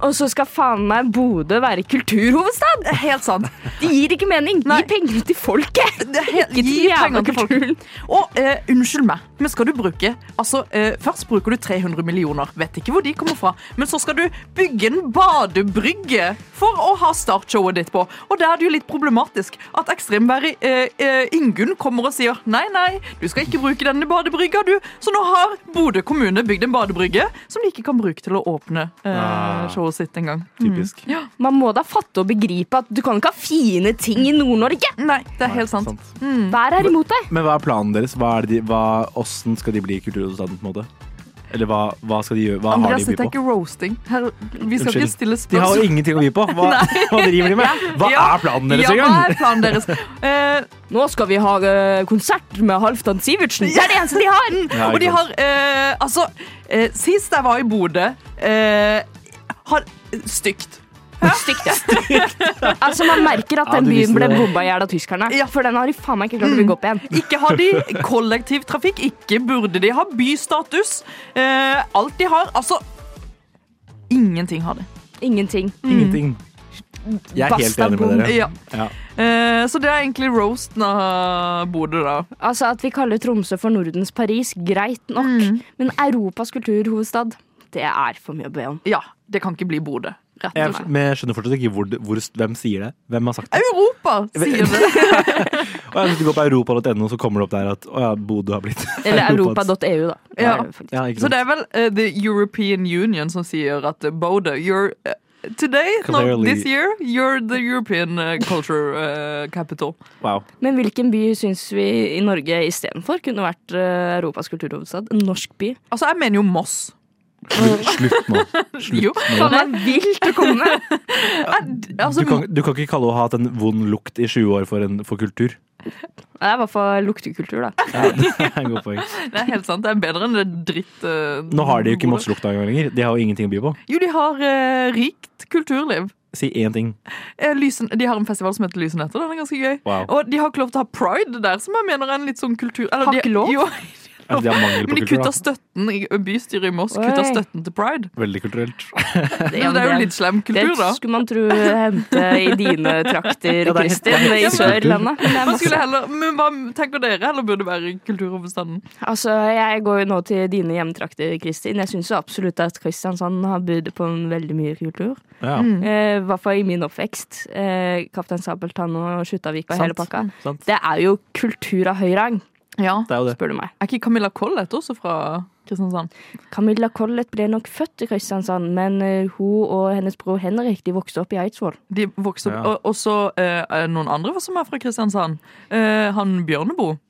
Speaker 5: Og så skal faen meg Bodø være kulturhovedstad!
Speaker 3: Helt sant.
Speaker 5: Det gir ikke mening! Gi pengene til folket!
Speaker 3: Helt,
Speaker 5: Ikke til
Speaker 3: gi
Speaker 5: jævla
Speaker 3: pengene til
Speaker 5: kulturen.
Speaker 3: folk. Og eh, unnskyld meg, men skal du bruke Altså, eh, Først bruker du 300 millioner, vet ikke hvor de kommer fra. Men så skal du bygge en badebrygge for å ha startshowet ditt på. Og der er det jo litt problematisk at ekstremværet eh, eh, Ingunn kommer og sier nei, nei, du skal ikke bruke denne badebrygga, du. Så nå har Bodø kommune bygd en badebrygge som de ikke kan bruke til å åpne eh,
Speaker 4: Ah.
Speaker 3: showet sitt engang.
Speaker 4: Typisk.
Speaker 3: Ja.
Speaker 5: Man må da fatte og begripe at du kan ikke ha fine ting i Nord-Norge!
Speaker 3: Nei, det er helt sant.
Speaker 4: Sant.
Speaker 5: Vær her imot deg!
Speaker 4: Men hva er planen deres? Hva er det de, hva, hvordan skal de bli kulturhovedstaden? på en måte? Eller hva, hva skal de gjøre? Hva har
Speaker 3: Andreas,
Speaker 4: de å
Speaker 3: dette er
Speaker 4: by på?
Speaker 3: ikke roasting. Her, vi skal ikke
Speaker 4: Unnskyld.
Speaker 3: stille
Speaker 4: De har
Speaker 3: spørsmål.
Speaker 4: jo ingenting å by på! Hva, hva driver de med? Hva
Speaker 3: Ja.
Speaker 4: er planen deres
Speaker 3: ja, hva er
Speaker 4: engang?
Speaker 3: planen deres? Eh,
Speaker 5: Nå skal vi ha eh, konsert med Halvdan Sivertsen. Det er det eneste de har!
Speaker 4: Ja,
Speaker 3: og de
Speaker 4: ikke
Speaker 3: har eh, Altså, eh, sist jeg var i Bodø eh, har, Stygt.
Speaker 5: Stygt, ja. altså, man merker at
Speaker 4: Ja,
Speaker 5: den
Speaker 4: du
Speaker 5: byen
Speaker 4: visste
Speaker 5: ble
Speaker 4: det.
Speaker 5: bomba i hjel av tyskerne.
Speaker 3: Ja. Mm.
Speaker 5: For den har de faen meg ikke klart å bygge opp igjen.
Speaker 3: Ikke har de kollektivtrafikk, ikke burde de ha bystatus. Eh, alt de har Altså Ingenting har de.
Speaker 5: Ingenting.
Speaker 4: Ingenting. Jeg er helt
Speaker 5: Basta
Speaker 4: enig med
Speaker 5: bom.
Speaker 4: dere.
Speaker 3: Ja.
Speaker 4: Ja.
Speaker 3: Eh, så det er egentlig roasten av Bodø, da.
Speaker 5: Altså, At vi kaller Tromsø for Nordens Paris, greit nok.
Speaker 3: Mm.
Speaker 5: Men Europas kulturhovedstad, det er for mye å be om.
Speaker 3: Ja, det kan ikke bli Bodø. Rett og
Speaker 4: Jeg,
Speaker 3: slett.
Speaker 4: men jeg skjønner fortsatt ikke hvor, det- hvor, hvem sier det. Hvem har sagt det?
Speaker 3: Europa, sier det.
Speaker 4: Og jeg, hvis du går på europa.no, så kommer det opp der at å ja, Bodø har blitt
Speaker 5: Eller
Speaker 4: Europas-
Speaker 5: europa.eu, da. Det
Speaker 3: Ja.
Speaker 5: er det faktisk.
Speaker 4: Ja, ikke
Speaker 3: Så
Speaker 4: sant?
Speaker 3: det er vel eh, The European Union som sier at eh, Bodø you're, eh, Today, no,
Speaker 4: Clearly.
Speaker 3: this year, you're the European eh, culture eh, capital.
Speaker 4: Wow.
Speaker 5: Men hvilken by syns vi i Norge istedenfor kunne vært eh, Europas kulturhovedstad? En norsk by.
Speaker 3: Altså, jeg mener jo Moss.
Speaker 4: Slutt nå. Slutt
Speaker 3: Jo.
Speaker 4: nå.
Speaker 5: Faen meg vilt å komme med!
Speaker 3: Altså,
Speaker 4: Du kan, du kan ikke kalle å ha hatt en vond lukt i 20 år for, en, for kultur.
Speaker 5: Det er i hvert fall luktekultur, da.
Speaker 4: Ja, det er en god poeng.
Speaker 3: Det er helt sant. Det er bedre enn det dritt... eh,
Speaker 4: Nå har de jo ikke
Speaker 3: Bodø.
Speaker 4: Moss-lukta engang lenger. De har jo ingenting å by på.
Speaker 3: Jo, de har eh, rikt kulturliv.
Speaker 4: Si én ting.
Speaker 3: Eh, Lysen, de har en festival som heter Lysenetter. Den er ganske gøy.
Speaker 4: Wow.
Speaker 3: Og de har ikke lov til å ha pride der, som jeg mener er en litt sånn kultur... eller
Speaker 5: Har
Speaker 3: de-
Speaker 5: ikke lov?
Speaker 3: Jo,
Speaker 4: Altså, de har mangel på
Speaker 3: men de
Speaker 4: kultur.
Speaker 3: kutta
Speaker 4: Da.
Speaker 3: støtten. i- Bystyret i Moss
Speaker 5: Oi.
Speaker 3: kutta støtten til pride.
Speaker 4: Veldig kulturelt.
Speaker 5: Det
Speaker 3: Men det er jo litt slem kultur, da.
Speaker 5: Det skulle man tro hente i dine trakter,
Speaker 4: Ja, det er-
Speaker 5: Kristin,
Speaker 4: det er-
Speaker 5: i Sørlandet. Men det er
Speaker 3: Man skulle
Speaker 5: masse.
Speaker 3: heller, men hva tenker dere heller burde være kulturhovedstaden?
Speaker 5: Altså, jeg går jo nå til dine hjemtrakter, Kristin. Jeg syns absolutt at Kristiansand har budt på en veldig mye kultur.
Speaker 4: Ja,
Speaker 3: Mm.
Speaker 5: Eh, I hvert fall i min oppvekst. Eh, Kaptein Sabeltann og Skjuttavik og hele pakka.
Speaker 4: sant.
Speaker 5: Det er jo kultur av høy rang,
Speaker 3: Ja.
Speaker 4: Det er jo det.
Speaker 5: spør du meg.
Speaker 3: Er ikke Camilla Collett også fra Kristiansand?
Speaker 5: Camilla Collett ble nok født i Kristiansand, men eh, hun og hennes bror Henrik de vokste opp i Eidsvoll.
Speaker 3: De vokste opp,
Speaker 4: Ja.
Speaker 3: og, og så eh, er det noen andre som er fra Kristiansand. Eh, han Bjørneboe.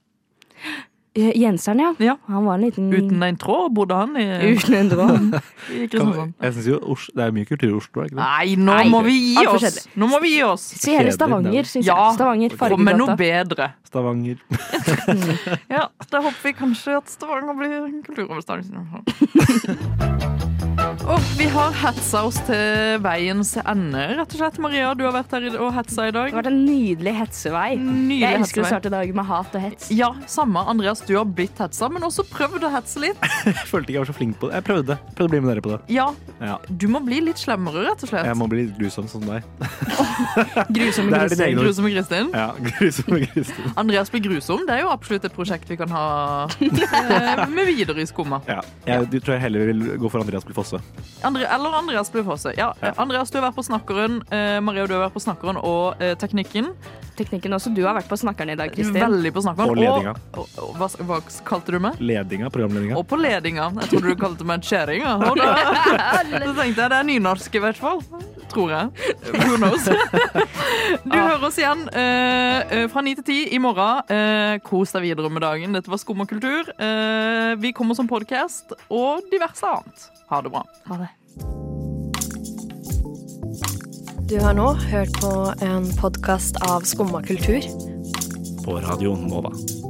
Speaker 5: Eh, Jenseren, ja.
Speaker 3: Ja.
Speaker 5: Han var en liten
Speaker 3: Uten en tråd bodde han i,
Speaker 5: Uten en drøm.
Speaker 3: i Kristiansand.
Speaker 4: Jeg synes jo Os- Det er mye kultur i Oslo, er det ikke det?
Speaker 3: Nei, nå
Speaker 5: Nei.
Speaker 3: må vi gi
Speaker 5: Alt for
Speaker 3: oss!
Speaker 5: kjedelig.
Speaker 3: Nå må vi gi oss!
Speaker 5: Se hele
Speaker 4: Kjedelig
Speaker 5: Stavanger,
Speaker 4: navn.
Speaker 5: syns jeg.
Speaker 3: Ja.
Speaker 5: Stavanger,
Speaker 3: Kom med noe
Speaker 5: Fargegata.
Speaker 3: bedre.
Speaker 4: Stavanger.
Speaker 3: Ja, Da håper vi kanskje at Stavanger blir kulturhovedstaden. Og vi har hetsa oss til veiens ende, rett og slett. Maria, du har vært her i- og hetsa i dag.
Speaker 5: Det har vært en nydelig hetsevei.
Speaker 3: Nydelig
Speaker 5: jeg elsker å
Speaker 3: hetsevei.
Speaker 5: starte dagen med hat og hets.
Speaker 3: Ja, samme. Andreas, du har blitt hetsa, men også prøvd å hetse litt.
Speaker 4: Jeg følte ikke jeg var så flink på det. Jeg prøvde. Prøvde å bli med dere på det.
Speaker 3: Ja,
Speaker 4: Ja.
Speaker 3: du må bli litt slemmere, rett og slett.
Speaker 4: Jeg må bli litt grusom som deg.
Speaker 3: Grusomme
Speaker 4: Det er din
Speaker 3: Kristin.
Speaker 4: egen ord.
Speaker 3: Grusomme Kristin.
Speaker 4: Ja, grusom og Kristin.
Speaker 3: Andreas blir grusom. Det er jo absolutt et prosjekt vi kan ha eh, med videre i skumma.
Speaker 4: Ja. Jeg du tror jeg heller vil gå for Andreas Bli Fosse.
Speaker 3: Andre, eller Andreas blir Fosse. Ja, eh, Andreas, du har vært på Snakkeren. Eh, Maria, du har vært på Snakkeren og eh, Teknikken.
Speaker 5: Teknikken også. Du har vært på Snakkeren i dag, Kristin.
Speaker 3: Veldig på Snakkeren.
Speaker 4: Og ledinga.
Speaker 3: Og, og, og, hva, hva kalte du meg?
Speaker 4: Ledinga, programledinga.
Speaker 3: Og på ledinga. Jeg trodde du kalte meg kjerringa. Og da så tenkte jeg det er nynorsk i hvert fall. Tror jeg. Who knows? Du hører oss igjen eh, eh, fra 9 til 10 i morgen. Eh, kos deg videre med dagen. Dette var Skum og kultur. Eh, vi kommer som podkast og diverse annet. Ha det bra.
Speaker 5: Ha det.
Speaker 12: Du har nå hørt på en podkast av Skumma kultur.
Speaker 4: På radioen Nova.